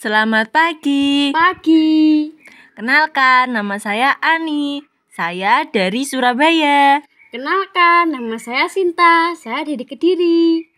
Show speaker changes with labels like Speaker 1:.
Speaker 1: Selamat pagi.
Speaker 2: Pagi.
Speaker 1: Kenalkan, nama saya Ani. Saya dari Surabaya.
Speaker 2: Kenalkan, nama saya Sinta. Saya dari Kediri.